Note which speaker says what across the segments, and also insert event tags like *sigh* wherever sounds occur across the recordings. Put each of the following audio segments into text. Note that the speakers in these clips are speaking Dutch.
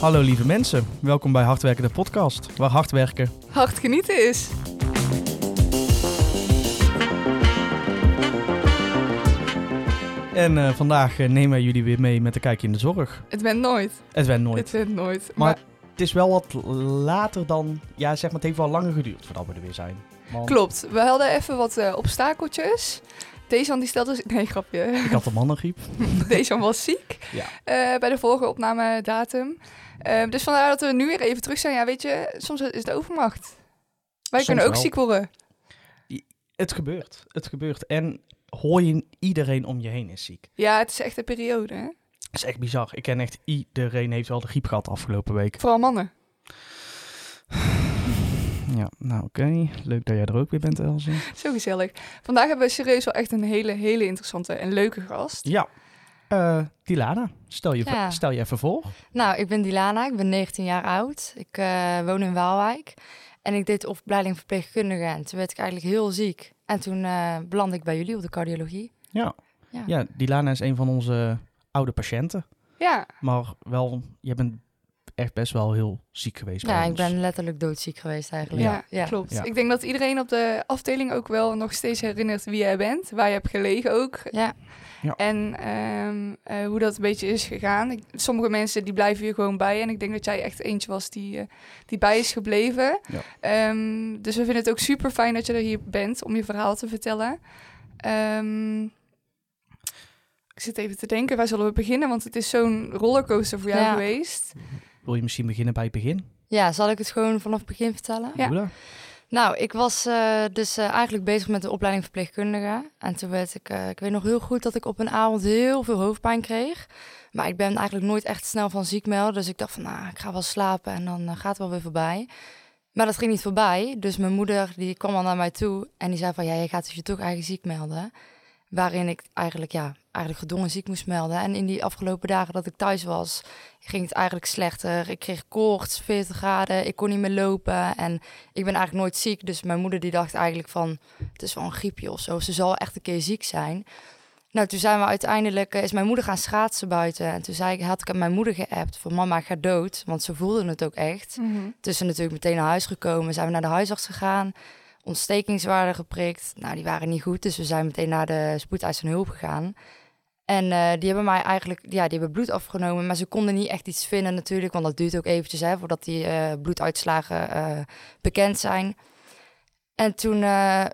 Speaker 1: Hallo lieve mensen, welkom bij Hardwerken de podcast, waar hard werken.
Speaker 2: hard genieten is.
Speaker 1: En eh, vandaag eh, nemen wij jullie weer mee met een kijkje in de zorg.
Speaker 2: Het bent nooit.
Speaker 1: Het werd nooit.
Speaker 2: Het bent nooit.
Speaker 1: Maar-
Speaker 2: Maar,
Speaker 1: Het is wel wat later dan, ja zeg maar, het heeft wel langer geduurd voordat we er weer zijn. Want
Speaker 2: klopt. We hadden even wat eh, obstakeltjes. Deze die stelde... zich- *laughs* Nee, grapje.
Speaker 1: Ik had een mannengriep.
Speaker 2: Deze was ziek
Speaker 1: Ja.
Speaker 2: eh, bij de vorige opnamedatum. Eh, dus vandaar dat we nu weer even terug zijn. Ja, weet je, soms is het overmacht. Wij
Speaker 1: Soms
Speaker 2: kunnen ook
Speaker 1: wel.
Speaker 2: ziek worden.
Speaker 1: Het gebeurt, het gebeurt. En hoor je, iedereen om je heen is ziek.
Speaker 2: Ja, het is echt een periode. Hè?
Speaker 1: Dat is echt bizar. Ik ken echt iedereen heeft wel de griep gehad afgelopen week.
Speaker 2: Vooral mannen.
Speaker 1: *laughs* Ja, nou oké. Leuk dat jij er ook weer bent, Elze.
Speaker 2: Zo gezellig. Vandaag hebben we serieus wel echt een hele, hele interessante en leuke gast.
Speaker 1: Ja. Eh Dilana, stel je,
Speaker 3: Ja.
Speaker 1: stel je even voor.
Speaker 3: Nou, ik ben Dilana, ik ben 19 jaar oud. Ik eh, woon in Waalwijk en ik deed de opleiding verpleegkundige. En toen werd ik eigenlijk heel ziek. En toen eh belandde ik bij jullie op de cardiologie.
Speaker 1: Ja. ja.
Speaker 3: Ja.
Speaker 1: Dilana is een van onze oude patiënten.
Speaker 2: Ja,
Speaker 3: Ah.
Speaker 1: Maar wel, je bent echt best wel heel ziek geweest. bij
Speaker 3: Ja, Nou, ik
Speaker 1: ons.
Speaker 3: ben letterlijk doodziek geweest eigenlijk.
Speaker 2: Ja,
Speaker 3: ja.
Speaker 2: klopt.
Speaker 1: Ja.
Speaker 2: Ik denk dat iedereen op de afdeling ook wel nog steeds herinnert wie jij bent, waar je hebt gelegen ook.
Speaker 3: Ja.
Speaker 1: Ja.
Speaker 2: En ehm, eh, hoe dat een beetje is gegaan. Ik- sommige mensen die blijven hier gewoon bij. En ik denk dat jij echt eentje was die, eh, die bij is gebleven.
Speaker 1: Ja.
Speaker 2: Ehm, dus we vinden het ook super fijn dat je er hier bent om je verhaal te vertellen. Ehm, ik zit even te denken, waar zullen we beginnen? Want het is zo'n rollercoaster voor jou
Speaker 3: Ja.
Speaker 2: geweest.
Speaker 1: Wil je misschien beginnen bij het begin?
Speaker 3: Ja, zal ik het gewoon vanaf het begin vertellen?
Speaker 2: Ja.
Speaker 1: Doe dat.
Speaker 3: Nou, ik was eh, dus eh, eigenlijk bezig met de opleiding verpleegkundige. En toen werd ik, eh, ik weet nog heel goed dat ik op een avond heel veel hoofdpijn kreeg. Maar ik ben eigenlijk nooit echt snel van ziek melden. Dus ik dacht van, nou, ik ga wel slapen en dan eh, gaat het wel weer voorbij. Maar dat ging niet voorbij. Dus mijn moeder die kwam al naar mij toe en die zei van, ja, jij gaat dus je toch eigen ziek melden. Waarin ik eigenlijk, ja, eigenlijk gedwongen ziek moest melden. En in die afgelopen dagen dat ik thuis was, ging het eigenlijk slechter. Ik kreeg koorts, 40 graden, ik kon niet meer lopen en ik ben eigenlijk nooit ziek. Dus mijn moeder die dacht eigenlijk van, het is wel een griepje of zo. Ze zal echt een keer ziek zijn. Nou, toen zijn we uiteindelijk, eh, is mijn moeder gaan schaatsen buiten. En toen zei ik, had ik aan mijn moeder geappt van mama, ik ga dood. Want ze voelde het ook echt.
Speaker 2: Mhm.
Speaker 3: Tussen natuurlijk meteen naar huis gekomen. Zijn we naar de huisarts gegaan. Ontstekingswaarden geprikt. Nou, die waren niet goed. Dus we zijn meteen naar de spoedeisende hulp gegaan. En eh, die hebben mij eigenlijk, ja, die hebben bloed afgenomen. Maar ze konden niet echt iets vinden natuurlijk. Want dat duurt ook eventjes, hè, voordat die eh, bloeduitslagen eh, bekend zijn. En toen eh,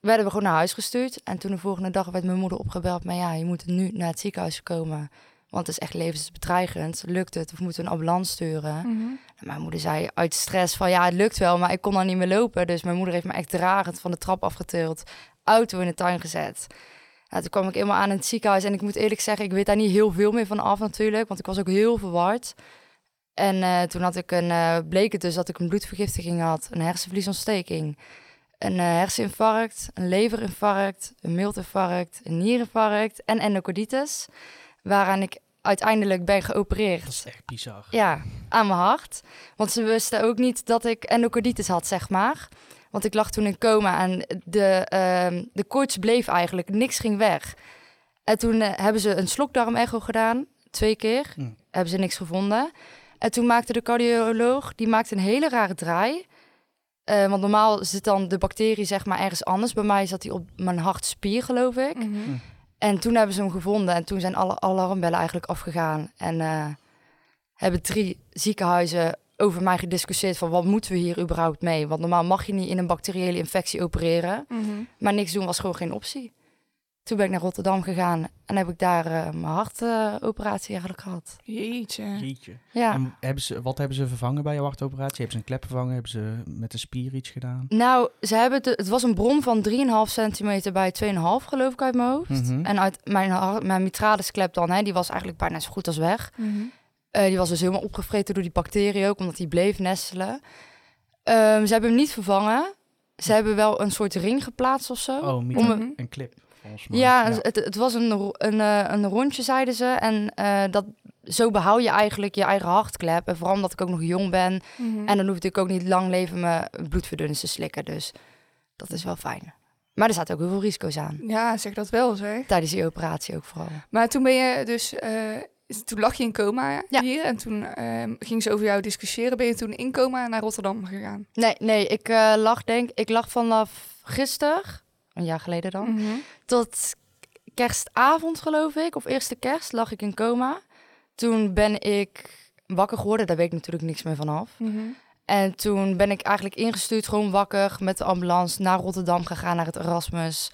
Speaker 3: werden we gewoon naar huis gestuurd. En toen de volgende dag werd mijn moeder opgebeld. Maar ja, je moet nu naar het ziekenhuis komen. Want het is echt levensbedreigend. Lukt het? Of moeten we een ambulance sturen?
Speaker 2: Mhm.
Speaker 3: En Mijn moeder zei uit stress van ja, het lukt wel, maar ik kon dan niet meer lopen. Dus mijn moeder heeft me echt dragend van de trap afgetild, auto in de tuin gezet. Nou, toen kwam ik eenmaal aan in het ziekenhuis en ik moet eerlijk zeggen, ik weet daar niet heel veel meer van af natuurlijk, want ik was ook heel verward. En eh, toen had ik een, eh, bleek het dus dat ik een bloedvergiftiging had, een hersenvliesontsteking, een eh, herseninfarct, een leverinfarct, een mildinfarct, een nierinfarct en endocarditis, waaraan ik uiteindelijk ben geopereerd.
Speaker 1: Dat is echt bizar.
Speaker 3: Ja, aan mijn hart. Want ze wisten ook niet dat ik endocarditis had, zeg maar. Want ik lag toen in coma en de, ehm, de koorts bleef eigenlijk. Niks ging weg. En toen eh, hebben ze een slokdarmecho gedaan. Twee keer.
Speaker 1: Mm.
Speaker 3: Hebben ze niks gevonden. En toen maakte de cardioloog, die maakte een hele rare draai. Eh, want normaal zit dan de bacterie zeg maar ergens anders. Bij mij zat die op mijn hartspier, geloof ik.
Speaker 2: Mhm.
Speaker 3: En toen hebben ze hem gevonden en toen zijn alle alarmbellen eigenlijk afgegaan. En eh, hebben drie ziekenhuizen over mij gediscussieerd van wat moeten we hier überhaupt mee? Want normaal mag je niet in een bacteriële infectie opereren.
Speaker 2: Mhm.
Speaker 3: Maar niks doen was gewoon geen optie. Toen ben ik naar Rotterdam gegaan en heb ik daar eh, mijn hartoperatie eigenlijk gehad.
Speaker 2: Jeetje.
Speaker 1: Jeetje.
Speaker 3: Ja.
Speaker 1: En hebben ze, wat hebben ze vervangen bij jouw hartoperatie? Hebben ze een klep vervangen? Hebben ze met de spier iets gedaan?
Speaker 3: Nou, ze hebben de- het was een bron van 3,5 centimeter bij 2,5 geloof ik uit mijn hoofd.
Speaker 1: Mhm.
Speaker 3: En uit mijn, har- mijn mitralisklep dan, hè, die was eigenlijk bijna zo goed als weg.
Speaker 2: Mhm.
Speaker 3: Eh, die was dus helemaal opgevreten door die bacterie ook, omdat die bleef nestelen. Ehm, ze hebben hem niet vervangen. Ze hebben wel een soort ring geplaatst of zo.
Speaker 1: Oh, Mieke,
Speaker 3: Om
Speaker 2: een-
Speaker 1: een klip. Volgens mij.
Speaker 3: ja, Het, het was een, ro- een, eh, een rondje, zeiden ze. En eh, dat, zo behoud je eigenlijk je eigen hartklep. En vooral omdat ik ook nog jong ben.
Speaker 2: Mhm.
Speaker 3: En dan hoefde ik ook niet lang leven mijn bloedverdunners te slikken. Dus dat is wel fijn. Maar er zaten ook heel veel risico's aan.
Speaker 2: Ja, zeg dat wel zeg.
Speaker 3: Tijdens die operatie ook vooral.
Speaker 2: Maar toen ben je dus eh, is- toen lag je in coma
Speaker 3: Ja.
Speaker 2: hier en toen ehm, ging ze over jou discussiëren. Ben je toen in coma naar Rotterdam gegaan?
Speaker 3: Nee, nee, ik eh, lag denk ik lag vanaf gisteren, een jaar geleden dan,
Speaker 2: Mhm.
Speaker 3: tot kerstavond geloof ik, of eerste kerst lag ik in coma. Toen ben ik wakker geworden, daar weet ik natuurlijk niks meer van af.
Speaker 2: Mhm.
Speaker 3: En toen ben ik eigenlijk ingestuurd, gewoon wakker, met de ambulance naar Rotterdam gegaan, naar het Erasmus.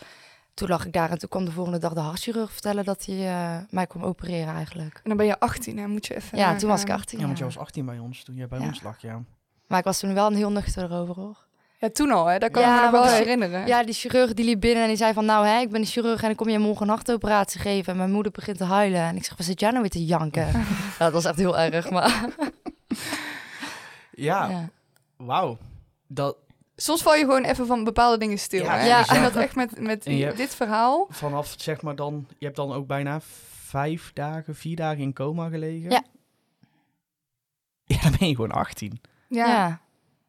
Speaker 3: Toen lag ik daar en toen kwam de volgende dag de hartchirurg vertellen dat hij eh, mij kwam opereren eigenlijk.
Speaker 2: En dan ben je 18, hè? Moet je even.
Speaker 3: Ja,
Speaker 2: nagaan.
Speaker 3: toen was ik 18.
Speaker 1: Ja, want
Speaker 3: ja.
Speaker 1: jij was 18 bij ons toen jij bij
Speaker 3: Ja.
Speaker 1: ons lag, ja.
Speaker 3: Maar ik was toen wel een heel nuchter over hoor.
Speaker 2: Ja, toen al, hè? Daar kan
Speaker 3: Ja,
Speaker 2: ik me nog wel
Speaker 3: want-
Speaker 2: eens herinneren.
Speaker 3: Ja, die chirurg die liep binnen en die zei van... nou, hè, ik ben de chirurg en ik kom je morgen een hartoperatie geven. En mijn moeder begint te huilen. En ik zeg, wat zit jij nou weer te janken? nou, dat was echt heel erg, maar...
Speaker 1: Ja,
Speaker 3: Ja.
Speaker 1: wauw. Dat,
Speaker 2: Soms val je gewoon even van bepaalde dingen stil.
Speaker 1: Ja,
Speaker 2: hè?
Speaker 3: ja.
Speaker 2: En dat echt met, met
Speaker 1: En je-
Speaker 2: dit verhaal.
Speaker 1: vanaf zeg maar dan, je hebt dan ook bijna vijf dagen, vier dagen in coma gelegen.
Speaker 3: Ja.
Speaker 1: *laughs* Ja, dan ben je gewoon 18.
Speaker 3: Ja.
Speaker 2: Ja.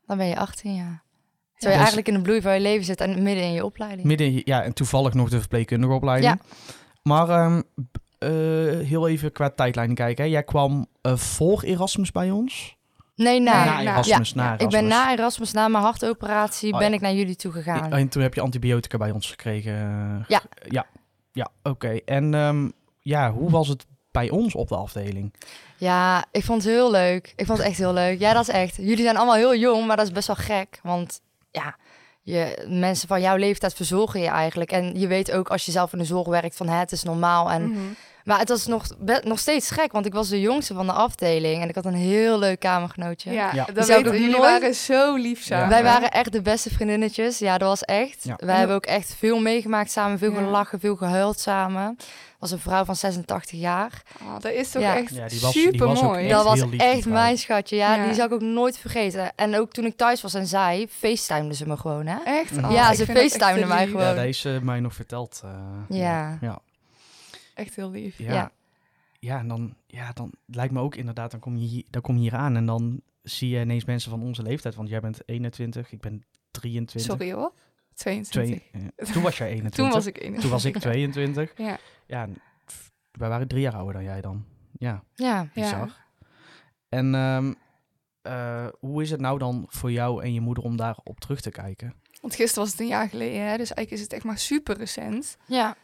Speaker 3: dan ben je 18, ja. Terwijl je
Speaker 1: Dus-
Speaker 3: eigenlijk in de bloei van je leven zit en midden in je opleiding.
Speaker 1: Midden, in je- ja, en toevallig nog de verpleegkundige opleiding. Maar ehm, b- eh, heel even qua tijdlijn kijken. Hè. Jij kwam eh, voor Erasmus bij ons.
Speaker 3: Nee, na.
Speaker 2: Nee,
Speaker 1: na
Speaker 2: na.
Speaker 1: Erasmus,
Speaker 3: Ja,
Speaker 1: na
Speaker 3: Ik
Speaker 1: Erasmus.
Speaker 3: ben na Erasmus, na mijn hartoperatie,
Speaker 1: Oh, ja.
Speaker 3: ben ik naar jullie toe gegaan.
Speaker 1: En toen heb je antibiotica bij ons gekregen. eh,
Speaker 3: Ja.
Speaker 1: Ja, ja oké. En ehm, ja, hoe was het bij ons op de afdeling?
Speaker 3: Ja, ik vond het heel leuk. Ik vond het echt heel leuk. Ja, dat is echt. Jullie zijn allemaal heel jong, maar dat is best wel gek. Want ja, je, mensen van jouw leeftijd verzorgen je eigenlijk. En je weet ook als je zelf in de zorg werkt van hè, het is normaal. En,
Speaker 2: Mhm.
Speaker 3: Maar het was nog, be- nog steeds gek, want ik was de jongste van de afdeling. En ik had een heel leuk kamergenootje.
Speaker 2: Ja,
Speaker 1: Ja.
Speaker 2: dat
Speaker 3: Die zou
Speaker 2: weet
Speaker 3: ik
Speaker 2: ik.
Speaker 3: ook
Speaker 2: Jullie
Speaker 3: nooit-
Speaker 2: waren zo lief samen.
Speaker 3: Wij waren echt de beste vriendinnetjes. Ja, dat was echt.
Speaker 1: Ja.
Speaker 3: Wij hebben ook echt veel meegemaakt samen. Veel
Speaker 2: Ja.
Speaker 3: gelachen, veel gehuild samen. Was een vrouw van 86 jaar.
Speaker 2: Ah, dat is toch
Speaker 3: Ja.
Speaker 2: echt
Speaker 1: Ja, die was- die
Speaker 2: super
Speaker 1: was ook
Speaker 2: mooi.
Speaker 1: echt-
Speaker 3: Dat was
Speaker 1: heel lief, die
Speaker 3: echt
Speaker 1: vrouw.
Speaker 3: mijn schatje. Ja,
Speaker 2: Ja.
Speaker 3: die zal ik ook nooit vergeten. En ook toen ik thuis was en zij, facetimede ze me gewoon, hè?
Speaker 2: Echt?
Speaker 1: Ja,
Speaker 2: Ah, ik
Speaker 3: ze
Speaker 2: vind dat echt
Speaker 3: facetimeden
Speaker 2: heel
Speaker 3: mij
Speaker 2: lief.
Speaker 3: gewoon.
Speaker 1: Ja, deze mij nog verteld. eh,
Speaker 3: Ja.
Speaker 1: ja.
Speaker 2: Echt heel lief.
Speaker 1: Ja. ja.
Speaker 3: Ja.
Speaker 1: en dan, ja, dan lijkt me ook inderdaad, dan kom, je hier, dan kom je hier aan en dan zie je ineens mensen van onze leeftijd. Want jij bent 21, ik ben 23.
Speaker 2: Sorry hoor. 22.
Speaker 1: Twee, eh, toen
Speaker 2: *laughs*
Speaker 1: was jij 21.
Speaker 2: Toen was ik 21.
Speaker 1: Toen was
Speaker 2: *laughs*
Speaker 1: ik 22.
Speaker 2: Ja.
Speaker 1: Ja, en f- wij waren drie jaar ouder dan jij dan. Ja,
Speaker 3: Ja.
Speaker 2: Ja.
Speaker 1: bizar. En ehm, eh, hoe is het nou dan voor jou en je moeder om daar op terug te kijken?
Speaker 2: Want gisteren was het een jaar geleden, hè? dus eigenlijk is het echt maar super recent.
Speaker 3: ja.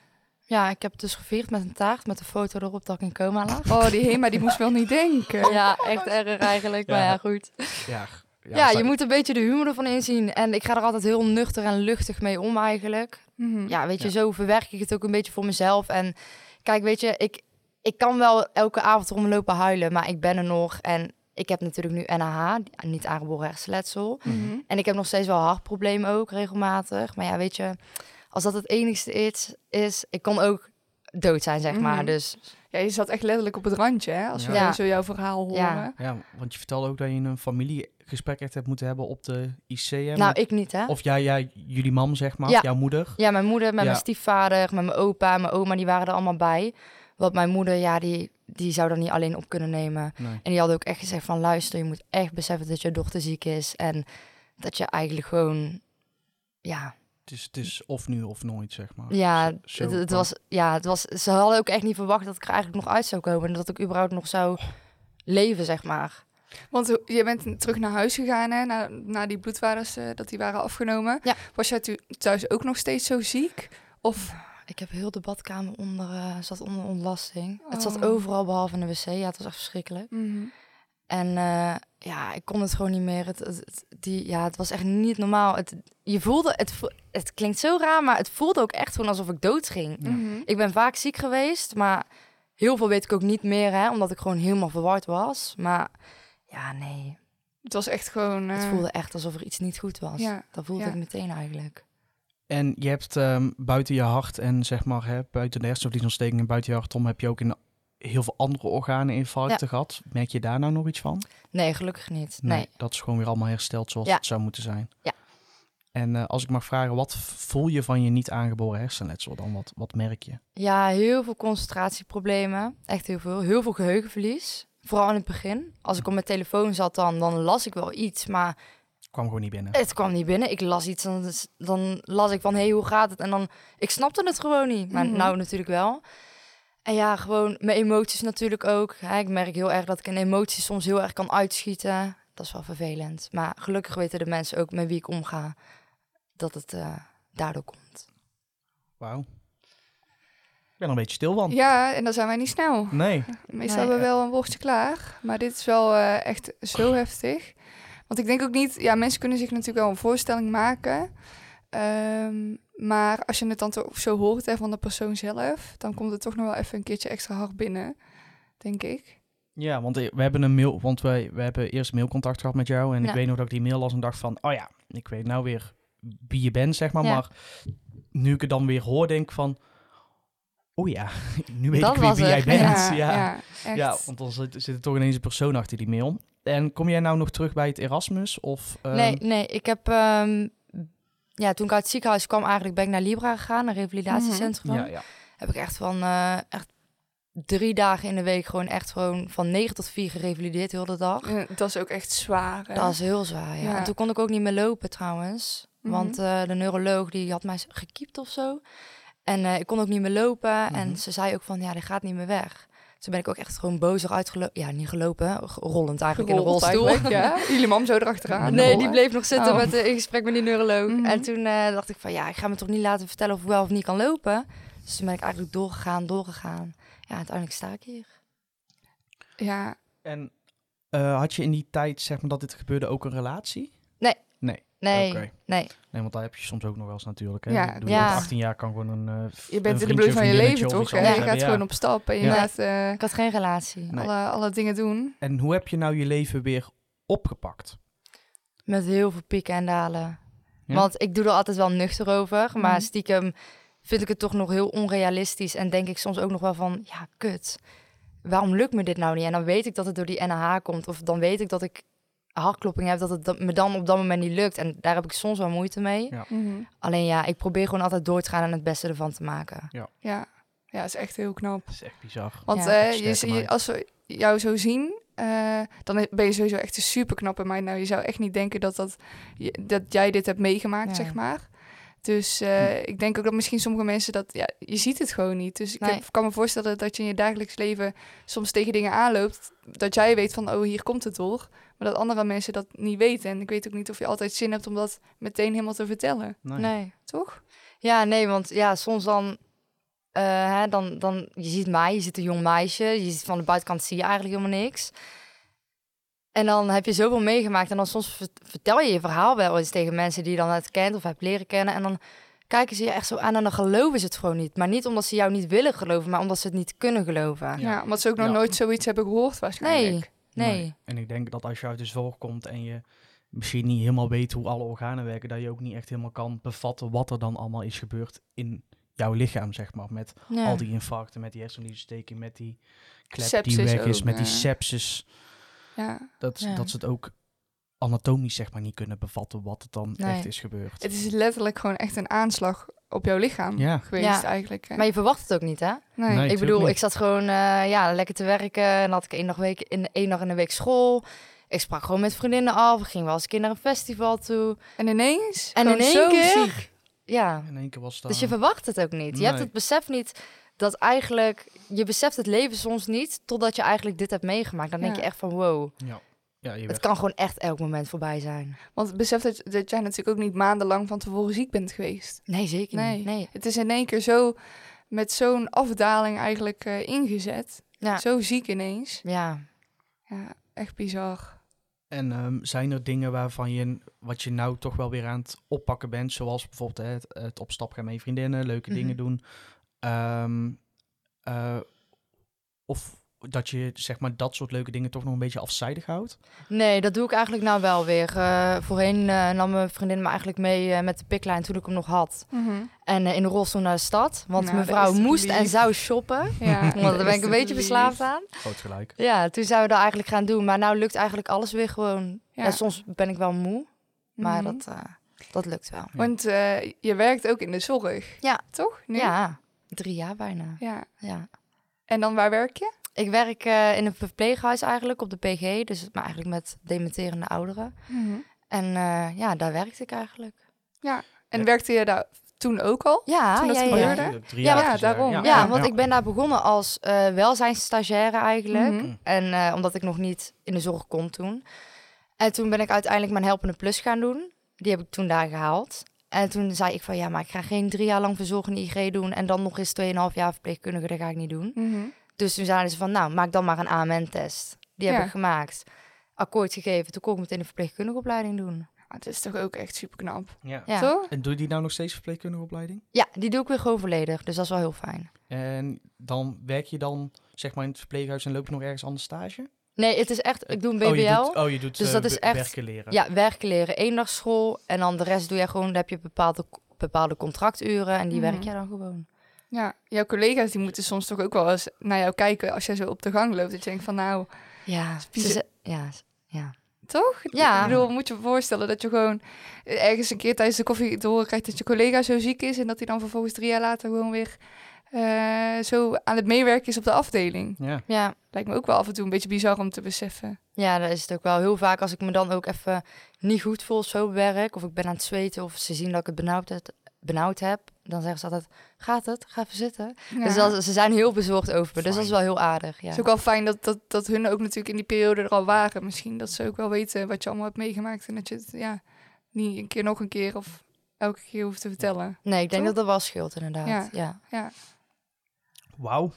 Speaker 3: Ja, ik heb het dus gevierd met een taart met een foto erop dat ik in coma lag.
Speaker 2: Oh, die Hema die moest wel niet denken.
Speaker 3: *laughs* Ja, echt erg eigenlijk. Maar
Speaker 1: Ja.
Speaker 3: ja, goed.
Speaker 1: Ja,
Speaker 3: Ja, je moet een beetje de humor ervan inzien. En ik ga er altijd heel nuchter en luchtig mee om eigenlijk.
Speaker 2: Mhm.
Speaker 3: ja, weet je,
Speaker 1: Ja.
Speaker 3: zo verwerk ik het ook een beetje voor mezelf. En kijk, weet je, ik, ik kan wel elke avond om lopen huilen, maar ik ben er nog. En ik heb natuurlijk nu NAH, niet aangeboren hersenletsel.
Speaker 2: Mhm.
Speaker 3: En ik heb nog steeds wel hartproblemen ook regelmatig. Maar ja, weet je, als dat het enigste is, is ik kan ook dood zijn, zeg maar.
Speaker 2: Mhm.
Speaker 3: Dus
Speaker 2: Ja, je zat echt letterlijk op het randje, hè? Als we
Speaker 3: Ja.
Speaker 2: zo jouw verhaal horen.
Speaker 3: Ja.
Speaker 1: Ja, want je vertelde ook dat je een familiegesprek echt hebt moeten hebben op de IC. hè,
Speaker 3: nou,
Speaker 1: met-
Speaker 3: ik niet, hè?
Speaker 1: Of jij, jij, jullie mam, zeg maar,
Speaker 3: Ja.
Speaker 1: jouw moeder.
Speaker 3: Ja, mijn moeder met
Speaker 1: Ja.
Speaker 3: mijn stiefvader, met mijn opa, mijn oma, die waren er allemaal bij. Want mijn moeder, ja, die, die zou er niet alleen op kunnen nemen.
Speaker 1: Nee.
Speaker 3: En die hadden ook echt gezegd van luister, je moet echt beseffen dat je dochter ziek is. En dat je eigenlijk gewoon, ja,
Speaker 1: Het is, het is of nu of nooit, zeg maar.
Speaker 3: ja,
Speaker 1: Oh, Zo-
Speaker 3: het,
Speaker 1: zo
Speaker 3: het
Speaker 1: kan.
Speaker 3: was, ja, het was, ze hadden ook echt niet verwacht dat ik er eigenlijk nog uit zou komen. En dat ik überhaupt nog zou leven, zeg maar.
Speaker 2: Want ho- je bent terug naar huis gegaan, hè? Na, na die bloedwaardes, eh, dat die waren afgenomen.
Speaker 3: Ja.
Speaker 2: Was jij thu- thuis ook nog steeds zo ziek? Of
Speaker 3: Ik heb heel de badkamer onder, eh, zat onder ontlasting. Het zat
Speaker 2: Oh.
Speaker 3: overal behalve in de wc. Ja, het was echt verschrikkelijk. En eh, ja, ik kon het gewoon niet meer. Het, het, het- die, ja, het was echt niet normaal. Het, je voelde, het, vo- het klinkt zo raar, maar het voelde ook echt gewoon alsof ik dood ging.
Speaker 1: Ja.
Speaker 2: Mhm.
Speaker 3: Ik ben vaak ziek geweest, maar heel veel weet ik ook niet meer, hè, omdat ik gewoon helemaal verward was. Maar ja, nee,
Speaker 2: het was echt gewoon. eh,
Speaker 3: het voelde echt alsof er iets niet goed was.
Speaker 2: ja,
Speaker 3: dat voelde
Speaker 2: ja.
Speaker 3: ik meteen eigenlijk.
Speaker 1: En je hebt ehm, buiten je hart en zeg maar hè, buiten de hersenvliesontsteking en buiten je hart om heb je ook in heel veel andere organen infarcten gehad. Merk je daar nou nog iets van?
Speaker 3: Nee, gelukkig niet. Nee.
Speaker 1: Dat is gewoon weer allemaal hersteld zoals
Speaker 3: Ja.
Speaker 1: het zou moeten zijn.
Speaker 3: Ja.
Speaker 1: En eh, als ik mag vragen, wat voel je van je niet aangeboren hersenletsel dan? Wat, wat merk je?
Speaker 3: Ja, heel veel concentratieproblemen. Echt heel veel. Heel veel geheugenverlies. Vooral in het begin. Als ik op mijn telefoon zat dan, dan las ik wel iets, maar
Speaker 1: Kwam gewoon niet binnen.
Speaker 3: het kwam niet binnen. Ik las iets en dan- dan las ik van, hé, hey, hoe gaat het? En dan, ik snapte het gewoon niet. Maar
Speaker 2: Mhm.
Speaker 3: nou natuurlijk wel. En ja, gewoon mijn emoties natuurlijk ook. Hè, ik merk heel erg dat ik een emotie soms heel erg kan uitschieten. Dat is wel vervelend. Maar gelukkig weten de mensen ook met wie ik omga dat het eh, daardoor komt.
Speaker 1: Wauw. Ik ben er een beetje stil van.
Speaker 2: Ja, en dan zijn wij niet snel.
Speaker 1: Nee.
Speaker 2: Meestal
Speaker 3: Nee.
Speaker 2: hebben we wel een woordje klaar. Maar dit is wel eh, echt zo heftig. Want ik denk ook niet... Ja, mensen kunnen zich natuurlijk wel een voorstelling maken. Ehm, maar als je het dan toch zo hoort hè, van de persoon zelf... dan komt het toch nog wel even een keertje extra hard binnen. Denk ik.
Speaker 1: Ja, want we hebben een mail, want wij, we hebben eerst mailcontact gehad met jou. En
Speaker 3: Ja.
Speaker 1: ik weet nog dat ik die mail las en dacht van, oh ja, ik weet nou weer wie je bent, zeg maar.
Speaker 3: Ja.
Speaker 1: Maar nu ik het dan weer hoor, denk ik van, oh ja, *laughs* nu weet
Speaker 3: Dat
Speaker 1: ik weer
Speaker 3: was
Speaker 1: wie
Speaker 3: het.
Speaker 1: jij bent.
Speaker 2: Ja,
Speaker 1: Ja, ja.
Speaker 2: echt.
Speaker 1: want dan zit, zit er toch ineens een persoon achter die mail. En kom jij nou nog terug bij het Erasmus? Of, ehm,
Speaker 3: nee, nee, ik heb... ehm, ja, toen ik uit het ziekenhuis kwam eigenlijk ben ik naar Libra gegaan, een revalidatiecentrum.
Speaker 1: Ja, ja.
Speaker 3: heb ik echt van eh, echt drie dagen in de week gewoon echt gewoon van negen tot vier gerevalideerd heel de dag.
Speaker 2: Eh, Dat is ook echt zwaar. hè?
Speaker 3: Dat is heel zwaar, ja.
Speaker 2: Ja.
Speaker 3: En toen kon ik ook niet meer lopen trouwens.
Speaker 2: Mhm.
Speaker 3: Want eh, de neuroloog die had mij gekiept of zo. En eh, ik kon ook niet meer lopen.
Speaker 1: Mhm.
Speaker 3: En ze zei ook van, ja, dit gaat niet meer weg. Toen ben ik ook echt gewoon boos eruit gelopen. Ja, niet gelopen, ge- rollend eigenlijk
Speaker 2: Gerold
Speaker 3: in de rolstoel.
Speaker 2: eigenlijk,
Speaker 3: *laughs*
Speaker 2: Ja, *laughs* jullie mam zo erachteraan.
Speaker 3: Nee, die
Speaker 2: rollen.
Speaker 3: bleef nog zitten
Speaker 2: Ah, Oh.
Speaker 3: met, eh, in gesprek met die neuroloog.
Speaker 2: Mhm.
Speaker 3: En toen eh, dacht ik van, ja, ik ga me toch niet laten vertellen of ik wel of niet kan lopen. Dus toen ben ik eigenlijk doorgegaan, doorgegaan. Ja, uiteindelijk sta ik hier.
Speaker 2: Ja,
Speaker 1: En eh, had je in die tijd, zeg maar, dat dit gebeurde ook een relatie?
Speaker 3: Nee,
Speaker 1: Oké.
Speaker 3: nee.
Speaker 1: Nee, want daar heb je soms ook nog wel eens natuurlijk. Hè?
Speaker 2: Ja,
Speaker 1: Ik bedoel,
Speaker 3: ja.
Speaker 1: met 18 jaar kan gewoon een eh, v-
Speaker 2: je
Speaker 1: een
Speaker 2: bent in
Speaker 1: vriendje
Speaker 2: de bloei
Speaker 1: of
Speaker 2: van je
Speaker 1: vriendinnetje
Speaker 2: leven
Speaker 1: of
Speaker 2: toch?
Speaker 1: iets
Speaker 2: hè?
Speaker 1: anders
Speaker 2: Je gaat
Speaker 1: hebben, ja.
Speaker 2: gewoon op stap en je
Speaker 1: Ja.
Speaker 2: gaat eh,
Speaker 3: Ik had geen relatie.
Speaker 1: Nee.
Speaker 2: alle, alle dingen doen.
Speaker 1: En hoe heb je nou je leven weer opgepakt?
Speaker 3: Met heel veel pieken en dalen.
Speaker 1: Ja?
Speaker 3: Want ik doe er altijd wel nuchter over. Maar
Speaker 2: Mhm.
Speaker 3: stiekem vind ik het toch nog heel onrealistisch. En denk ik soms ook nog wel van, ja, kut. Waarom lukt me dit nou niet? En dan weet ik dat het door die NH komt. Of dan weet ik dat ik hartklopping heb, dat het dat me dan op dat moment niet lukt. En daar heb ik soms wel moeite mee.
Speaker 1: Ja.
Speaker 2: Mhm.
Speaker 3: Alleen ja, ik probeer gewoon altijd door te gaan en het beste ervan te maken.
Speaker 2: Ja. ja, is echt heel knap.
Speaker 1: Dat is echt bizar.
Speaker 2: Want
Speaker 3: Ja.
Speaker 2: eh,
Speaker 1: Echt
Speaker 2: je,
Speaker 1: sterke
Speaker 2: je-
Speaker 1: meid.
Speaker 2: als we jou zo zien, eh, dan ben je sowieso echt een super knappe meid. Nou, je zou echt niet denken dat, dat, je- dat jij dit hebt meegemaakt,
Speaker 3: Ja.
Speaker 2: zeg maar. Dus eh,
Speaker 1: Hm.
Speaker 2: ik denk ook dat misschien sommige mensen dat... Ja, je ziet het gewoon niet. Dus ik
Speaker 3: Nee.
Speaker 2: heb- kan me voorstellen dat je in je dagelijks leven soms tegen dingen aanloopt. Dat jij weet van, oh, hier komt het door. Maar dat andere mensen dat niet weten. En ik weet ook niet of je altijd zin hebt om dat meteen helemaal te vertellen.
Speaker 3: Nee.
Speaker 2: Toch?
Speaker 3: Ja, nee, want ja, soms dan, eh, hè, dan, dan, je ziet mij, je ziet een jong meisje, je ziet van de buitenkant zie je eigenlijk helemaal niks. En dan heb je zoveel meegemaakt en dan soms ver- vertel je je verhaal wel eens tegen mensen die je dan net kent of hebt leren kennen. En dan kijken ze je echt zo aan en dan geloven ze het gewoon niet. Maar niet omdat ze jou niet willen geloven, maar omdat ze het niet kunnen geloven.
Speaker 1: Ja.
Speaker 2: Ja, omdat ze ook nog
Speaker 1: Ja.
Speaker 2: nooit zoiets hebben gehoord waarschijnlijk.
Speaker 3: Nee, nee.
Speaker 1: En ik denk dat als je uit de zorg komt en je misschien niet helemaal weet hoe alle organen werken, dat je ook niet echt helemaal kan bevatten wat er dan allemaal is gebeurd in jouw lichaam, zeg maar. Met
Speaker 3: Ja.
Speaker 1: al die infarcten, met die hersenliedsteking, met die klep die
Speaker 2: Sepsis
Speaker 1: weg is,
Speaker 2: ook,
Speaker 1: met die
Speaker 2: ja.
Speaker 1: sepsis.
Speaker 2: Ja.
Speaker 1: Dat,
Speaker 3: Ja.
Speaker 1: dat ze het ook anatomisch, zeg maar, niet kunnen bevatten wat het dan
Speaker 3: Nee.
Speaker 1: echt is gebeurd.
Speaker 2: Het is letterlijk gewoon echt een aanslag op jouw lichaam
Speaker 1: Ja.
Speaker 2: geweest
Speaker 3: Ja.
Speaker 2: eigenlijk. Hè?
Speaker 3: Maar je verwacht het ook niet, hè?
Speaker 2: nee.
Speaker 1: Nee.
Speaker 3: ik
Speaker 1: natuurlijk
Speaker 3: bedoel,
Speaker 1: niet.
Speaker 3: ik zat gewoon eh, ja, lekker te werken. En dan had ik één dag, week, in, één dag in de week school. Ik sprak gewoon met vriendinnen af. We gingen wel eens een keer naar een festival toe.
Speaker 2: En ineens?
Speaker 3: En
Speaker 2: gewoon
Speaker 3: in één
Speaker 2: zo
Speaker 3: keer?
Speaker 2: ziek.
Speaker 3: Ja,
Speaker 1: In één keer was dat.
Speaker 3: dus je verwacht het ook niet. Je hebt
Speaker 1: Nee.
Speaker 3: het besef niet dat eigenlijk... Je beseft het leven soms niet totdat je eigenlijk dit hebt meegemaakt. Dan denk
Speaker 2: Ja.
Speaker 3: je echt van wow,
Speaker 1: ja. Ja, je
Speaker 3: het
Speaker 1: werd-
Speaker 3: kan gewoon echt elk moment voorbij zijn.
Speaker 2: Want besef dat, dat jij natuurlijk ook niet maandenlang van tevoren ziek bent geweest.
Speaker 3: Nee, zeker
Speaker 2: Nee.
Speaker 3: niet. Nee.
Speaker 2: Het is in één keer zo met zo'n afdaling eigenlijk eh, ingezet.
Speaker 3: Ja.
Speaker 2: Zo ziek ineens.
Speaker 3: Ja.
Speaker 2: Ja, echt bizar.
Speaker 1: En ehm, zijn er dingen waarvan je, wat je nou toch wel weer aan het oppakken bent, zoals bijvoorbeeld hè, het, het op stap gaan met je vriendinnen, leuke
Speaker 3: Mhm.
Speaker 1: dingen doen, Ehm, eh, of dat je zeg maar dat soort leuke dingen toch nog een beetje afzijdig houdt?
Speaker 3: Nee, dat doe ik eigenlijk nou wel weer. Eh, voorheen eh, nam mijn vriendin me eigenlijk mee eh, met de piklijn toen ik hem nog had. En eh, in de rolstoel naar de stad. Want
Speaker 2: Nou, dat
Speaker 3: mevrouw
Speaker 2: is toch
Speaker 3: moest
Speaker 2: lief.
Speaker 3: en
Speaker 2: *laughs*
Speaker 3: zou shoppen.
Speaker 2: Ja,
Speaker 3: Want daar
Speaker 2: dat is
Speaker 3: ben ik een
Speaker 2: toch
Speaker 3: beetje
Speaker 2: lief.
Speaker 3: verslaafd aan.
Speaker 1: Groot gelijk.
Speaker 3: Ja, toen zouden we dat eigenlijk gaan doen. Maar nou lukt eigenlijk alles weer gewoon.
Speaker 2: Ja.
Speaker 3: Ja. soms ben ik wel moe, maar
Speaker 2: Mhm.
Speaker 3: dat, eh, dat lukt wel.
Speaker 2: Want eh, je werkt ook in de zorg.
Speaker 3: Ja.
Speaker 2: Toch? Nu?
Speaker 3: Ja, drie jaar bijna.
Speaker 2: ja.
Speaker 3: Ja.
Speaker 2: En dan waar werk je?
Speaker 3: Ik werk eh, in een verpleeghuis eigenlijk op de PG. Dus maar eigenlijk met dementerende Mhm. ouderen. En eh, ja, daar werkte ik eigenlijk.
Speaker 2: En
Speaker 1: Ja.
Speaker 2: werkte je daar toen ook al?
Speaker 3: Ja,
Speaker 2: Toen dat
Speaker 3: ja, ja, ja.
Speaker 2: gebeurde?
Speaker 1: Oh, Drie
Speaker 3: Ja,
Speaker 1: jaar
Speaker 2: ja,
Speaker 1: geleden.
Speaker 2: daarom.
Speaker 3: Ja,
Speaker 2: Ja.
Speaker 3: want ik ben daar begonnen als eh welzijnsstagiaire eigenlijk.
Speaker 2: Mhm.
Speaker 3: En eh, omdat ik nog niet in de zorg kon toen. En toen ben ik uiteindelijk mijn helpende plus gaan doen. Die heb ik toen daar gehaald. En toen zei ik van ja, maar ik ga geen drie jaar lang verzorgende IG doen. En dan nog eens 2,5 jaar verpleegkundige, dat ga ik niet doen.
Speaker 2: Mhm.
Speaker 3: Dus toen zeiden ze van nou, maak dan maar een AMN-test. Die heb
Speaker 2: Ja.
Speaker 3: ik gemaakt. Akkoord gegeven. Toen kon ik meteen de verpleegkundige opleiding doen.
Speaker 2: Maar het is toch ook echt super knap.
Speaker 1: Ja.
Speaker 3: Ja.
Speaker 2: Toch?
Speaker 1: En doe je die nou nog steeds verpleegkundige opleiding?
Speaker 3: ja, die doe ik weer gewoon volledig. Dus dat is wel heel fijn.
Speaker 1: En dan werk je dan zeg maar in het verpleeghuis en loop je nog ergens anders stage?
Speaker 3: Nee, het is echt, ik doe een BBL.
Speaker 1: Oh, je doet, oh, je doet
Speaker 3: Dus
Speaker 1: eh,
Speaker 3: dat is
Speaker 1: be-
Speaker 3: echt-
Speaker 1: werken leren.
Speaker 3: Ja, werken leren, één dag school. En dan de rest doe jij gewoon, dan heb je bepaalde, bepaalde contracturen en die
Speaker 2: Mhm.
Speaker 3: werk jij dan gewoon.
Speaker 2: Ja, jouw collega's die moeten soms toch ook wel eens naar jou kijken als jij zo op de gang loopt. Dat je denkt van nou,
Speaker 3: Ja,
Speaker 2: bizar.
Speaker 3: ze- ja, s- ja.
Speaker 2: toch?
Speaker 3: Ja.
Speaker 2: Ik bedoel, moet je je voorstellen dat je gewoon ergens een keer tijdens de koffie te horen krijgt dat je collega zo ziek is. En dat hij dan vervolgens drie jaar later gewoon weer eh, zo aan het meewerken is op de afdeling.
Speaker 1: Ja.
Speaker 3: ja.
Speaker 2: Lijkt me ook wel af en toe een beetje bizar om te beseffen.
Speaker 3: Ja, dat is het ook wel. Heel vaak als ik me dan ook even niet goed voel of zo op werk, of ik ben aan het zweten, of ze zien dat ik het benauwd, het, benauwd heb, dan zeggen ze altijd, gaat het? Ga even zitten.
Speaker 2: Ja.
Speaker 3: Dus dat, ze zijn heel bezorgd over me, dus dat is wel
Speaker 1: Fijn.
Speaker 3: heel aardig. Ja.
Speaker 2: Het is ook wel fijn dat, dat, dat hun ook natuurlijk in die periode er al waren. Misschien dat ze ook wel weten wat je allemaal hebt meegemaakt. En dat je het ja, niet een keer nog een keer of elke keer hoeft te vertellen.
Speaker 3: Nee, ik denk
Speaker 2: Toch?
Speaker 3: dat dat wel scheelt inderdaad.
Speaker 2: Ja.
Speaker 3: Ja.
Speaker 1: Wauw,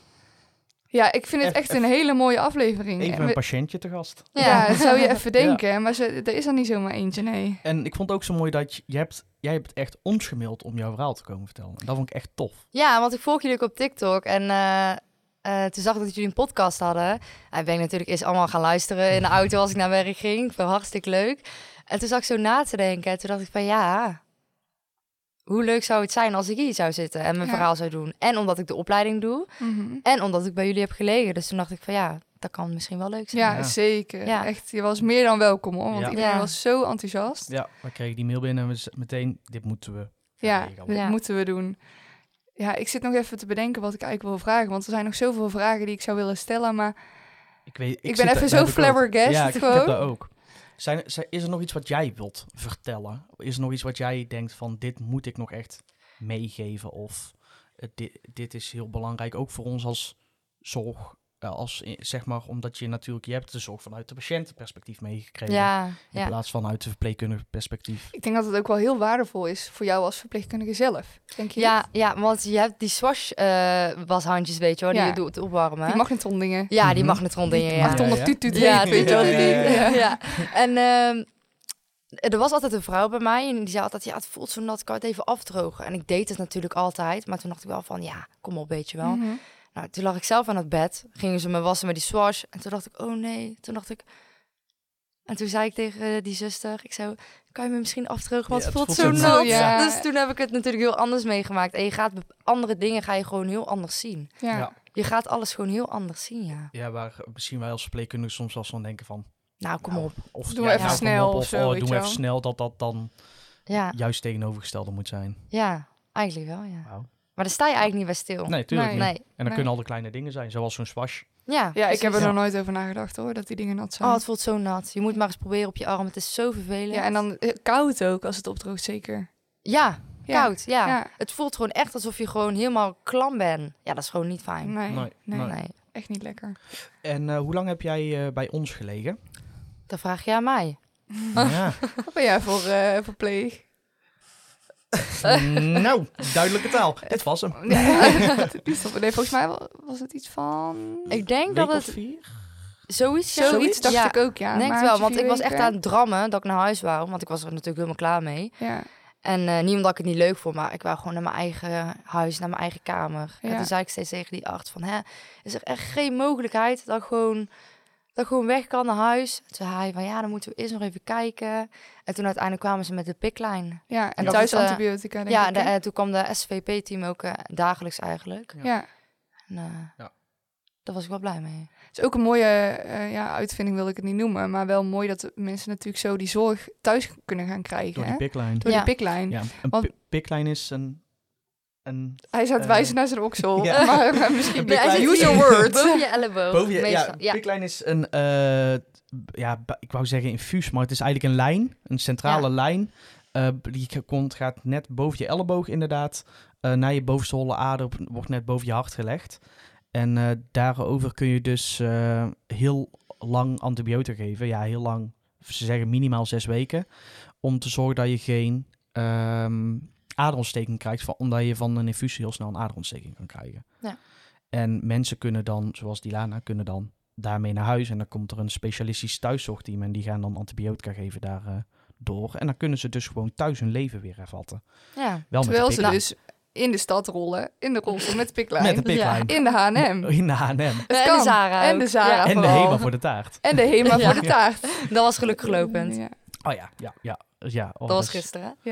Speaker 2: Ja, ik vind het echt een hele mooie aflevering. En
Speaker 1: even een
Speaker 2: we-
Speaker 1: patiëntje te gast.
Speaker 2: ja,
Speaker 1: *laughs*
Speaker 3: Ja.
Speaker 2: dat zou je even denken. Maar ze, er is er niet zomaar eentje, nee.
Speaker 1: En ik vond het ook zo mooi dat je, jij, hebt, jij hebt echt ons gemaild om jouw verhaal te komen vertellen. En dat vond ik echt tof.
Speaker 3: Ja, want ik volg jullie ook op TikTok en eh, eh, toen zag ik dat jullie een podcast hadden. En ben ik natuurlijk eerst allemaal gaan luisteren in de auto als ik naar werk ging. Ik vond het hartstikke leuk. En toen zag ik zo na te denken en toen dacht ik van ja, hoe leuk zou het zijn als ik hier zou zitten en mijn
Speaker 2: Ja.
Speaker 3: verhaal zou doen. En omdat ik de opleiding doe
Speaker 2: Mhm.
Speaker 3: en omdat ik bij jullie heb gelegen. Dus toen dacht ik van ja, dat kan misschien wel leuk zijn.
Speaker 2: Ja,
Speaker 1: Ja.
Speaker 2: zeker.
Speaker 3: Ja.
Speaker 2: Echt, je was meer dan welkom hoor. Want
Speaker 1: Ja.
Speaker 2: iedereen
Speaker 3: Ja.
Speaker 2: was zo enthousiast.
Speaker 1: Ja, we kregen die mail binnen en we z- meteen, dit moeten we.
Speaker 2: Ja,
Speaker 1: regelen.
Speaker 2: dat
Speaker 3: Ja.
Speaker 2: moeten we doen. Ja, ik zit nog even te bedenken wat ik eigenlijk wil vragen. Want er zijn nog zoveel vragen die ik zou willen stellen. Maar
Speaker 1: Ik, weet, ik,
Speaker 2: Ik
Speaker 1: zit
Speaker 2: ben
Speaker 1: daar-
Speaker 2: even
Speaker 1: daar
Speaker 2: zo
Speaker 1: heb ik ook-
Speaker 2: flabbergasted
Speaker 1: Ja, ik, ik
Speaker 2: gewoon.
Speaker 1: heb dat ook. Zijn, zijn- is er nog iets wat jij wilt vertellen? Is er nog iets wat jij denkt van dit moet ik nog echt meegeven? Of eh, dit, dit is heel belangrijk ook voor ons als zorg. eh, als, eh, zeg maar, omdat je natuurlijk, je hebt de zorg vanuit de patiëntenperspectief meegekregen.
Speaker 3: ja,
Speaker 1: In
Speaker 3: ja.
Speaker 1: plaats van vanuit de verpleegkundige perspectief.
Speaker 2: Ik denk dat het ook wel heel waardevol is voor jou als verpleegkundige zelf. Denk je?
Speaker 3: Ja, ja, want je hebt die swash eh washandjes, weet je wel,
Speaker 2: Ja.
Speaker 3: die je doet opwarmen.
Speaker 2: Die magnetondingen.
Speaker 3: Ja, die
Speaker 1: Mhm.
Speaker 3: magnetronddingen, ja.
Speaker 2: 800
Speaker 1: Ja, ja.
Speaker 2: tuut tuut
Speaker 3: Ja,
Speaker 2: heet, weet je wel,
Speaker 1: ja,
Speaker 2: die-
Speaker 1: ja,
Speaker 3: ja. ja. En ehm, er was altijd een vrouw bij mij en die zei altijd, ja, het voelt zo nat, ik kan het even afdrogen. En ik deed het natuurlijk altijd, maar toen dacht ik wel van, ja, kom op, weet je wel.
Speaker 2: Mhm.
Speaker 3: Nou, toen lag ik zelf aan het bed, gingen ze me wassen met die swash. En toen dacht ik, oh nee, toen dacht ik... En toen zei ik tegen eh, die zuster, ik zei, kan je me misschien afdrogen, want
Speaker 1: Ja,
Speaker 3: het voelt zo nat.
Speaker 2: ja.
Speaker 3: Dus toen heb ik het natuurlijk heel anders meegemaakt. En je gaat bep- andere dingen ga je gewoon heel anders zien.
Speaker 2: Ja.
Speaker 1: Ja.
Speaker 3: Je gaat alles gewoon heel anders zien, ja.
Speaker 1: Ja, waar misschien wij als verpleegkundigen soms wel eens van denken van...
Speaker 3: Nou, kom
Speaker 1: nou,
Speaker 3: op.
Speaker 1: Of,
Speaker 2: Doe even
Speaker 1: kom op,
Speaker 2: snel of
Speaker 1: of
Speaker 2: zo,
Speaker 1: oh,
Speaker 2: weet
Speaker 1: doen
Speaker 2: je
Speaker 1: we even
Speaker 2: wel.
Speaker 1: snel dat dat dan
Speaker 3: Ja,
Speaker 1: juist tegenovergestelde moet zijn.
Speaker 3: ja, eigenlijk wel, ja.
Speaker 1: Wauw.
Speaker 3: Maar daar sta je eigenlijk niet bij stil.
Speaker 1: Nee, tuurlijk
Speaker 2: Nee.
Speaker 1: niet.
Speaker 3: Nee.
Speaker 1: En dan
Speaker 2: Nee.
Speaker 1: kunnen al de kleine dingen zijn, zoals zo'n swash.
Speaker 3: Ja,
Speaker 2: Ja, ik heb er
Speaker 3: precies.
Speaker 2: nog nooit over nagedacht hoor, dat die dingen nat zijn.
Speaker 3: Oh, het voelt zo nat. Je moet maar eens proberen op je arm. Het is zo vervelend.
Speaker 2: ja, en dan eh, koud ook als het opdroogt, zeker.
Speaker 3: Ja,
Speaker 2: Ja.
Speaker 3: koud. Ja.
Speaker 2: Ja.
Speaker 3: Het voelt gewoon echt alsof je gewoon helemaal klam bent. Ja, dat is gewoon niet fijn.
Speaker 2: Nee, nee,
Speaker 1: Nee, nee.
Speaker 3: Nee.
Speaker 2: echt niet lekker.
Speaker 1: En eh, hoe lang heb jij eh, bij ons
Speaker 2: *laughs*
Speaker 1: gelegen?
Speaker 3: Dan vraag je aan mij.
Speaker 1: ja.
Speaker 2: Wat ben jij voor eh, verpleeg?
Speaker 1: nou, duidelijke taal. Dit was hem.
Speaker 2: Ja, *laughs* die is toch- nee, volgens mij wa- was het iets van...
Speaker 3: Ik denk
Speaker 1: Week
Speaker 3: dat
Speaker 1: of
Speaker 3: het
Speaker 1: vier?
Speaker 3: zoiets...
Speaker 2: Zoiets dacht
Speaker 3: ja,
Speaker 2: ik ook, ja.
Speaker 3: denk het
Speaker 2: maandje,
Speaker 3: wel, want
Speaker 2: vier
Speaker 3: ik was echt
Speaker 2: weken.
Speaker 3: aan het drammen dat ik naar huis wou. Want ik was er natuurlijk helemaal klaar mee.
Speaker 2: Ja,
Speaker 3: En eh, niet omdat ik het niet leuk vond, maar ik wou gewoon naar mijn eigen huis, naar mijn eigen kamer.
Speaker 2: Ja.
Speaker 3: En toen zei ik steeds tegen die arts van, hè, is er echt geen mogelijkheid dat ik gewoon, dat ik gewoon weg kan naar huis? Toen zei hij van, ja, dan moeten we eerst nog even kijken. En toen uiteindelijk kwamen ze met de piklijn.
Speaker 2: ja en
Speaker 1: Ja.
Speaker 2: thuis
Speaker 3: Dat, eh,
Speaker 2: antibiotica, denk
Speaker 3: Ja,
Speaker 2: ik,
Speaker 3: en de-
Speaker 2: hè?
Speaker 3: eh, toen kwam de SVP-team ook eh, dagelijks eigenlijk.
Speaker 1: ja.
Speaker 2: ja.
Speaker 3: En, eh,
Speaker 1: Ja.
Speaker 3: Daar was ik wel blij mee.
Speaker 2: Het is ook een mooie eh, ja, uitvinding, wil ik het niet noemen. Maar wel mooi dat de mensen natuurlijk zo die zorg thuis kunnen gaan krijgen.
Speaker 1: Door
Speaker 2: hè?
Speaker 1: die piklijn.
Speaker 2: Door
Speaker 3: Ja.
Speaker 2: die piklijn.
Speaker 1: Ja, een
Speaker 2: Want-
Speaker 1: pi- piklijn is een... een
Speaker 2: Hij staat
Speaker 1: Eh,
Speaker 2: wijzen naar zijn oksel.
Speaker 1: ja. *laughs*
Speaker 2: *laughs* Maar, maar
Speaker 3: *laughs*
Speaker 2: misschien
Speaker 1: Nee, hij zit
Speaker 2: use your
Speaker 1: hier.
Speaker 2: words.
Speaker 3: Boven je elleboog.
Speaker 1: boven je, ja,
Speaker 3: meestal. ja.
Speaker 1: piklijn is een... eh, b- ja, b- ik wou zeggen infuus, maar het is eigenlijk een lijn. Een centrale lijn. Eh, die komt, gaat net boven je elleboog inderdaad. eh, naar je bovenste holle ader wordt net boven je hart gelegd. En eh, daarover kun je dus eh, heel lang antibiotica geven. Ja, heel lang. Ze zeggen minimaal zes weken. Om te zorgen dat je geen ehm, aderontsteking krijgt. van- Omdat je van een infusie heel snel een aderontsteking kan krijgen.
Speaker 3: Ja.
Speaker 1: En mensen kunnen dan, zoals Dilana, kunnen dan daarmee naar huis. En dan komt er een specialistisch thuiszorgteam. En die gaan dan antibiotica geven daar eh, door. En dan kunnen ze dus gewoon thuis hun leven weer hervatten.
Speaker 3: Ja.
Speaker 1: Wel
Speaker 2: Terwijl
Speaker 1: met
Speaker 2: ze
Speaker 1: de piklijn.
Speaker 2: dus in de stad rollen, in de rolstoel met de piklijn,
Speaker 1: Met de piklijn.
Speaker 2: in de H&M.
Speaker 1: *laughs* In de H&M.
Speaker 2: Het
Speaker 3: en
Speaker 2: kan.
Speaker 3: de Zara
Speaker 2: En
Speaker 3: ook.
Speaker 2: de Zara.
Speaker 3: Ja.
Speaker 1: En de
Speaker 2: vooral.
Speaker 1: HEMA voor de taart.
Speaker 2: En de Hema
Speaker 3: *laughs* Ja.
Speaker 2: voor de taart.
Speaker 3: Dat was gelukkig lopend.
Speaker 2: Ja.
Speaker 1: Oh ja, ja, ja. ja oh,
Speaker 3: Dat was
Speaker 1: is-
Speaker 3: gisteren. hè?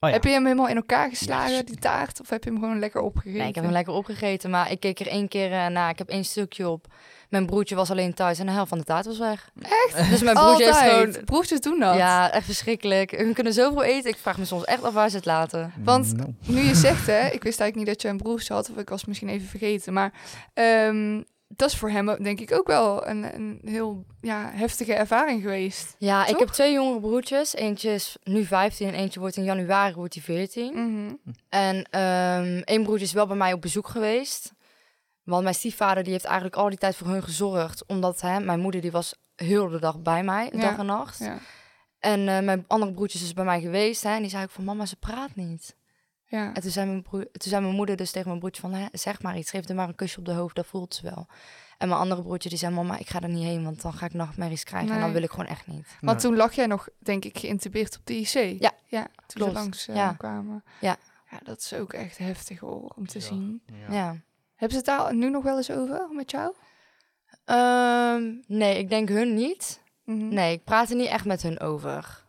Speaker 1: Oh ja.
Speaker 2: Heb je hem helemaal in elkaar geslagen,
Speaker 1: Ja,
Speaker 2: die taart? Of heb je hem gewoon lekker opgegeten?
Speaker 3: Nee, ik heb hem lekker opgegeten, maar ik keek er één keer eh, naar. Ik heb één stukje op. Mijn broertje was alleen thuis en de helft van de taart was weg. Echt? Dus mijn broertje heeft
Speaker 2: Altijd.
Speaker 3: gewoon...
Speaker 2: Broertjes doen dat.
Speaker 3: Ja, echt verschrikkelijk. Hun kunnen zoveel eten. Ik vraag me soms echt af waar ze het laten.
Speaker 2: Want-
Speaker 1: Nou.
Speaker 2: Nu je zegt, hè, ik wist eigenlijk niet dat je een broertje had, of ik was misschien even vergeten, maar ehm, dat is voor hem ook, denk ik ook wel een, een heel ja, heftige ervaring geweest.
Speaker 3: Ja, ik
Speaker 2: Toch?
Speaker 3: heb twee jongere broertjes. Eentje is nu 15 en eentje wordt in januari wordt hij 14.
Speaker 2: Mhm.
Speaker 3: En ehm één broertje is wel bij mij op bezoek geweest. Want mijn stiefvader die heeft eigenlijk al die tijd voor hun gezorgd. Omdat hè, mijn moeder die was heel de dag bij mij,
Speaker 2: Ja,
Speaker 3: dag en nacht.
Speaker 2: Ja.
Speaker 3: En eh, mijn andere broertjes is bij mij geweest. Hè, en die zei ook van, mama, ze praat niet.
Speaker 2: Ja.
Speaker 3: En toen zei mijn, broer, toen zei mijn moeder dus tegen mijn broertje van, hè, zeg maar iets. Geef er maar een kusje op de hoofd, dat voelt ze wel. En mijn andere broertje die zei, mama, ik ga er niet heen. Want dan ga ik nachtmerries krijgen en
Speaker 2: Nee.
Speaker 3: dat wil ik gewoon echt niet.
Speaker 2: Want toen lag jij nog, denk ik, geïntubeerd op de IC.
Speaker 3: Ja,
Speaker 2: ja toen
Speaker 3: klopt.
Speaker 2: ze langs eh,
Speaker 3: Ja.
Speaker 2: kwamen.
Speaker 3: Ja.
Speaker 2: ja, dat is ook echt heftig hoor, om te
Speaker 1: Ja.
Speaker 2: zien.
Speaker 1: Ja.
Speaker 3: Ja.
Speaker 2: Hebben ze het daar nu nog wel eens over met jou?
Speaker 3: Ehm, nee, ik denk hun niet.
Speaker 2: Mhm.
Speaker 3: Nee, ik praat er niet echt met hun over.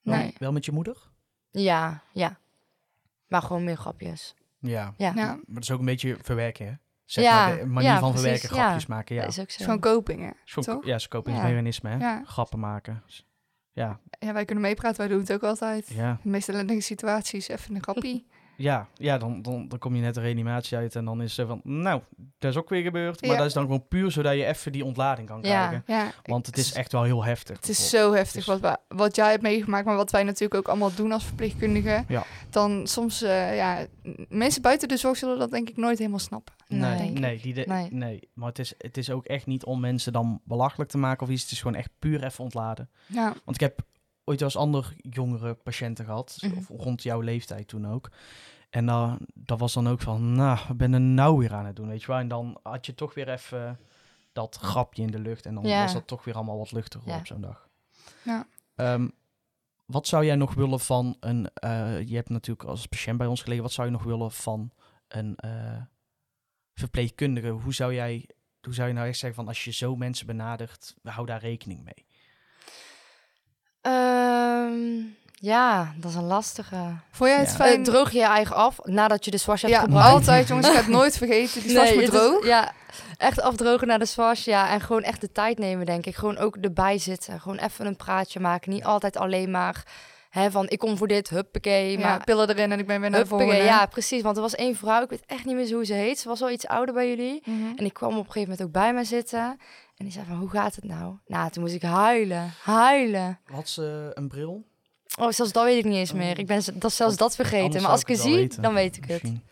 Speaker 1: Wel-
Speaker 2: Nee.
Speaker 1: Wel met je moeder?
Speaker 3: Ja, ja. Maar gewoon meer grapjes.
Speaker 1: Ja.
Speaker 3: Ja,
Speaker 2: Ja,
Speaker 1: Maar dat is ook een beetje verwerken, hè? Zeg
Speaker 3: Ja,
Speaker 1: maar de manier
Speaker 3: ja,
Speaker 1: van
Speaker 3: precies,
Speaker 1: verwerken,
Speaker 3: ja.
Speaker 1: grapjes maken. Ja.
Speaker 3: dat is ook
Speaker 2: het
Speaker 3: zo.
Speaker 2: is gewoon koping, hè?
Speaker 1: Zo-
Speaker 2: toch?
Speaker 1: ja, scopingsmechanisme, hè?
Speaker 2: Ja.
Speaker 1: Grappen maken. Ja,
Speaker 2: Ja, wij kunnen meepraten, wij doen het ook altijd.
Speaker 1: ja.
Speaker 2: De meest ellendige situaties, even een
Speaker 3: *laughs*
Speaker 2: grappie.
Speaker 1: Ja, ja dan, dan, dan kom je net de reanimatie uit en dan is er van, nou, dat is ook weer gebeurd. Maar
Speaker 2: Ja.
Speaker 1: dat is dan gewoon puur zodat je even die ontlading kan
Speaker 3: Ja.
Speaker 1: krijgen.
Speaker 2: ja,
Speaker 1: Want het is echt wel heel heftig.
Speaker 2: Het is zo heftig
Speaker 1: Dus-
Speaker 2: wat, wa- wat jij hebt meegemaakt, maar wat wij natuurlijk ook allemaal doen als verpleegkundigen.
Speaker 1: Ja.
Speaker 2: Dan soms, eh, ja, m- mensen buiten de zorg zullen dat denk ik nooit helemaal snappen.
Speaker 1: Nee,
Speaker 3: denk
Speaker 1: nee,
Speaker 3: ik.
Speaker 1: die de- nee.
Speaker 3: Nee.
Speaker 1: maar het is, het is ook echt niet om mensen dan belachelijk te maken of iets. Het is gewoon echt puur even ontladen.
Speaker 2: Ja,
Speaker 1: Want ik heb ooit wel eens andere jongere patiënten gehad,
Speaker 3: Mhm.
Speaker 1: of rond jouw leeftijd toen ook. En dan, dat was dan ook van, nou, wat ben je nou weer aan het doen, weet je wel. En dan had je toch weer even dat grapje in de lucht en dan
Speaker 3: Ja.
Speaker 1: was dat toch weer allemaal wat luchtiger
Speaker 3: Ja.
Speaker 1: op zo'n dag.
Speaker 2: Ja.
Speaker 1: Ehm, wat zou jij nog willen van een, eh, je hebt natuurlijk als patiënt bij ons gelegen, wat zou je nog willen van een eh, verpleegkundige? Hoe zou jij, hoe zou je nou echt zeggen van, als je zo mensen benadert, hou daar rekening mee?
Speaker 3: Ehm, ja, dat is een lastige.
Speaker 2: vond jij het
Speaker 1: Ja.
Speaker 2: fijn?
Speaker 3: Eh, droog je je eigen af nadat je de swash hebt
Speaker 2: ja,
Speaker 3: gebruikt?
Speaker 2: altijd jongens, ik ga het
Speaker 3: *laughs*
Speaker 2: nooit vergeten. Die was
Speaker 3: Nee,
Speaker 2: me
Speaker 3: het is-
Speaker 2: droog.
Speaker 3: ja, echt afdrogen naar de swash, ja. En gewoon echt de tijd nemen, denk ik. Gewoon ook erbij zitten. Gewoon even een praatje maken. Niet altijd alleen maar hè, van ik kom voor dit, huppakee.
Speaker 2: ja,
Speaker 3: maar
Speaker 2: pillen erin en ik ben weer naar de
Speaker 3: huppakee.
Speaker 2: volgende.
Speaker 3: Ja, precies. Want er was één vrouw, ik weet echt niet meer zo hoe ze heet. Ze was al iets ouder bij jullie.
Speaker 2: Mhm.
Speaker 3: En ik kwam op een gegeven moment ook bij me zitten. En die zei van, hoe gaat het nou? Nou, toen moest ik huilen. Huilen.
Speaker 1: Had ze een bril?
Speaker 3: Oh, zelfs dat weet ik niet eens
Speaker 1: Oh.
Speaker 3: meer. Ik ben z- dat zelfs dat vergeten.
Speaker 1: Anders
Speaker 3: Maar als ik
Speaker 1: zou
Speaker 3: het
Speaker 1: ik het wel
Speaker 3: zie,
Speaker 1: weten.
Speaker 3: dan weet ik het.
Speaker 1: Misschien.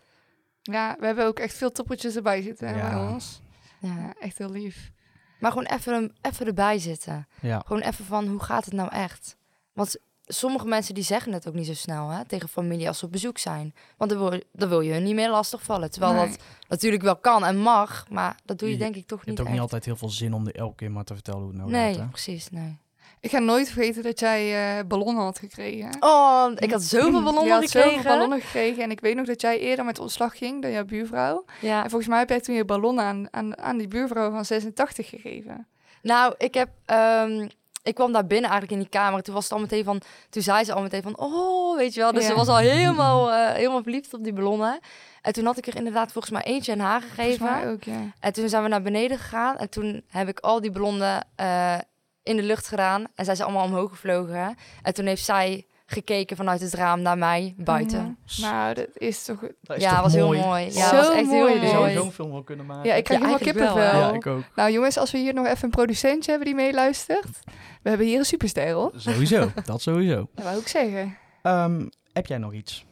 Speaker 2: ja, we hebben ook echt veel toppertjes erbij zitten hè,
Speaker 1: Ja.
Speaker 2: bij ons.
Speaker 3: Ja.
Speaker 2: Ja, echt heel lief.
Speaker 3: Maar gewoon even, even erbij zitten.
Speaker 1: Ja.
Speaker 3: Gewoon even van, hoe gaat het nou echt? Want sommige mensen die zeggen het ook niet zo snel hè, tegen familie als ze op bezoek zijn. Want dan wil, dan wil je hun niet meer lastigvallen. Terwijl
Speaker 2: Nee.
Speaker 3: dat natuurlijk wel kan en mag. Maar dat doe je
Speaker 1: Je-
Speaker 3: denk ik toch
Speaker 1: Je
Speaker 3: niet
Speaker 1: hebt ook niet
Speaker 3: echt.
Speaker 1: altijd heel veel zin om er elke keer maar te vertellen hoe het nou
Speaker 3: Nee,
Speaker 1: gaat. Hè?
Speaker 3: precies, nee.
Speaker 2: Ik ga nooit vergeten dat jij eh ballonnen had gekregen.
Speaker 3: Oh, ik had
Speaker 1: *clears throat*
Speaker 3: zoveel
Speaker 2: Je
Speaker 3: ballonnen
Speaker 2: had
Speaker 3: gekregen.
Speaker 2: zoveel ballonnen gekregen. En ik weet nog dat jij eerder met ontslag ging dan jouw buurvrouw.
Speaker 3: Ja.
Speaker 2: En Ah, volgens mij heb jij toen je ballon aan, aan, aan die buurvrouw van 86 gegeven.
Speaker 3: Nou, ik heb. ehm, ik kwam daar binnen eigenlijk in die kamer. Toen was het al meteen van. Toen zei ze al meteen van. Oh, weet je wel. Dus
Speaker 2: Ja.
Speaker 3: ze was al helemaal, eh, helemaal verliefd op die ballonnen. En toen had ik er inderdaad volgens mij eentje aan haar
Speaker 2: Volgens mij
Speaker 3: gegeven.
Speaker 2: ook, ja.
Speaker 3: En toen zijn we naar beneden gegaan. En toen heb ik al die ballonnen eh, in de lucht gedaan. En zijn ze allemaal omhoog gevlogen. En toen heeft zij gekeken vanuit het raam naar mij buiten.
Speaker 2: Mhm. Nou, dat is toch...
Speaker 1: Dat
Speaker 3: Ja, was heel mooi. Ja,
Speaker 2: Zo
Speaker 3: was echt
Speaker 2: mooi.
Speaker 1: Daar zou
Speaker 3: heel
Speaker 1: je zo'n
Speaker 3: mooi.
Speaker 1: film wel kunnen maken.
Speaker 2: Ja, ik krijg
Speaker 3: Ja,
Speaker 2: helemaal
Speaker 3: eigenlijk wel,
Speaker 2: kippenvel.
Speaker 3: hè?
Speaker 1: Ja, ik ook.
Speaker 2: Nou jongens, als we hier nog even een producentje hebben die meeluistert. We hebben hier een superster, hoor.
Speaker 1: Sowieso, *laughs* dat sowieso.
Speaker 2: Dat wou ik zeggen.
Speaker 1: Ehm, heb jij nog iets?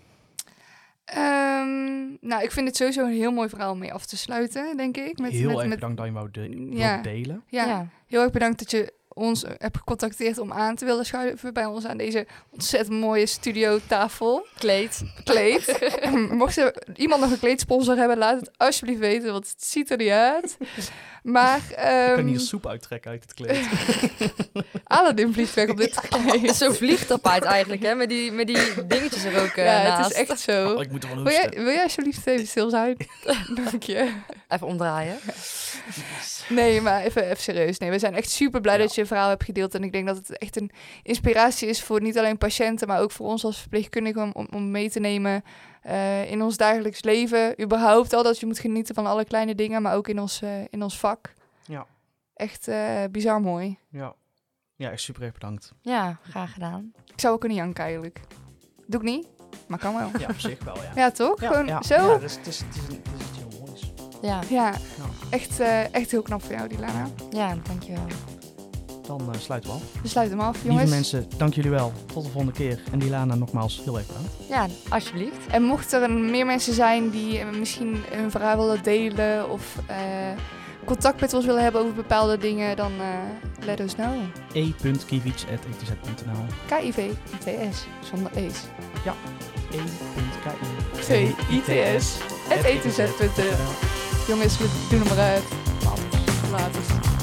Speaker 2: Ehm, nou, ik vind het sowieso een heel mooi verhaal om mee af te sluiten, denk ik. Met,
Speaker 1: Heel
Speaker 2: met,
Speaker 1: erg
Speaker 2: met-
Speaker 1: bedankt dat je wou de- wilt
Speaker 2: Ja.
Speaker 1: delen.
Speaker 2: ja, heel erg bedankt dat je ons hebt gecontacteerd om aan te willen schuiven bij ons aan deze ontzettend mooie studiotafel.
Speaker 3: *laughs* Kleed.
Speaker 2: Kleed. Mocht er iemand nog een kleedsponsor hebben, laat het alsjeblieft weten, want het ziet er niet uit. Maar
Speaker 1: Ik
Speaker 2: ehm
Speaker 1: kan hier soep uittrekken uit het
Speaker 3: *laughs*
Speaker 1: kleed.
Speaker 2: Aladdin vliegt weg op dit kleed.
Speaker 3: Zo'n vliegtapijt eigenlijk, hè? Met die, met die dingetjes er ook eh,
Speaker 2: ja, het
Speaker 3: naast.
Speaker 2: is echt zo.
Speaker 1: Oh, ik moet er wel
Speaker 2: Wil jij,
Speaker 1: hoesten.
Speaker 2: wil jij alsjeblieft even stil zijn? Dank je.
Speaker 3: Even omdraaien.
Speaker 2: Nee, maar even, even serieus. Nee, we zijn echt super blij
Speaker 1: Ja.
Speaker 2: dat je je verhaal hebt gedeeld. En ik denk dat het echt een inspiratie is voor niet alleen patiënten, maar ook voor ons als verpleegkundigen om, om, om mee te nemen eh, in ons dagelijks leven. Überhaupt al dat je moet genieten van alle kleine dingen, maar ook in ons, eh, in ons vak.
Speaker 1: Ja.
Speaker 2: Echt eh, bizar mooi.
Speaker 1: Ja. ja, echt super erg bedankt.
Speaker 3: Ja, graag gedaan.
Speaker 2: Ik zou ook kunnen janken eigenlijk. Doe ik niet, maar kan wel.
Speaker 1: Ja, op zich wel, ja.
Speaker 2: Ja, toch?
Speaker 1: Ja,
Speaker 2: Gewoon
Speaker 1: ja.
Speaker 2: zo.
Speaker 1: Ja,
Speaker 2: Ja,
Speaker 1: dat is, het is, het is, een- het is iets heel moois.
Speaker 3: Ja,
Speaker 2: echt, eh, echt heel knap voor jou, Dilana.
Speaker 3: ja dankjewel.
Speaker 1: Dan eh, sluiten we af.
Speaker 2: We sluiten hem af, jongens.
Speaker 1: Lieve mensen, dank jullie wel. Tot de volgende keer. En Dilana, nogmaals, heel erg bedankt.
Speaker 3: Ja, alsjeblieft.
Speaker 2: En mocht er een- meer mensen zijn die eh, misschien hun verhaal willen delen of eh, contact met ons willen hebben over bepaalde dingen, dan eh, let us know.
Speaker 1: e e.kiewicz.etz.nl
Speaker 2: KIV ITS zonder E's.
Speaker 1: e.kiewicz.etz.nl
Speaker 2: Jongens, we doen hem eruit. Later.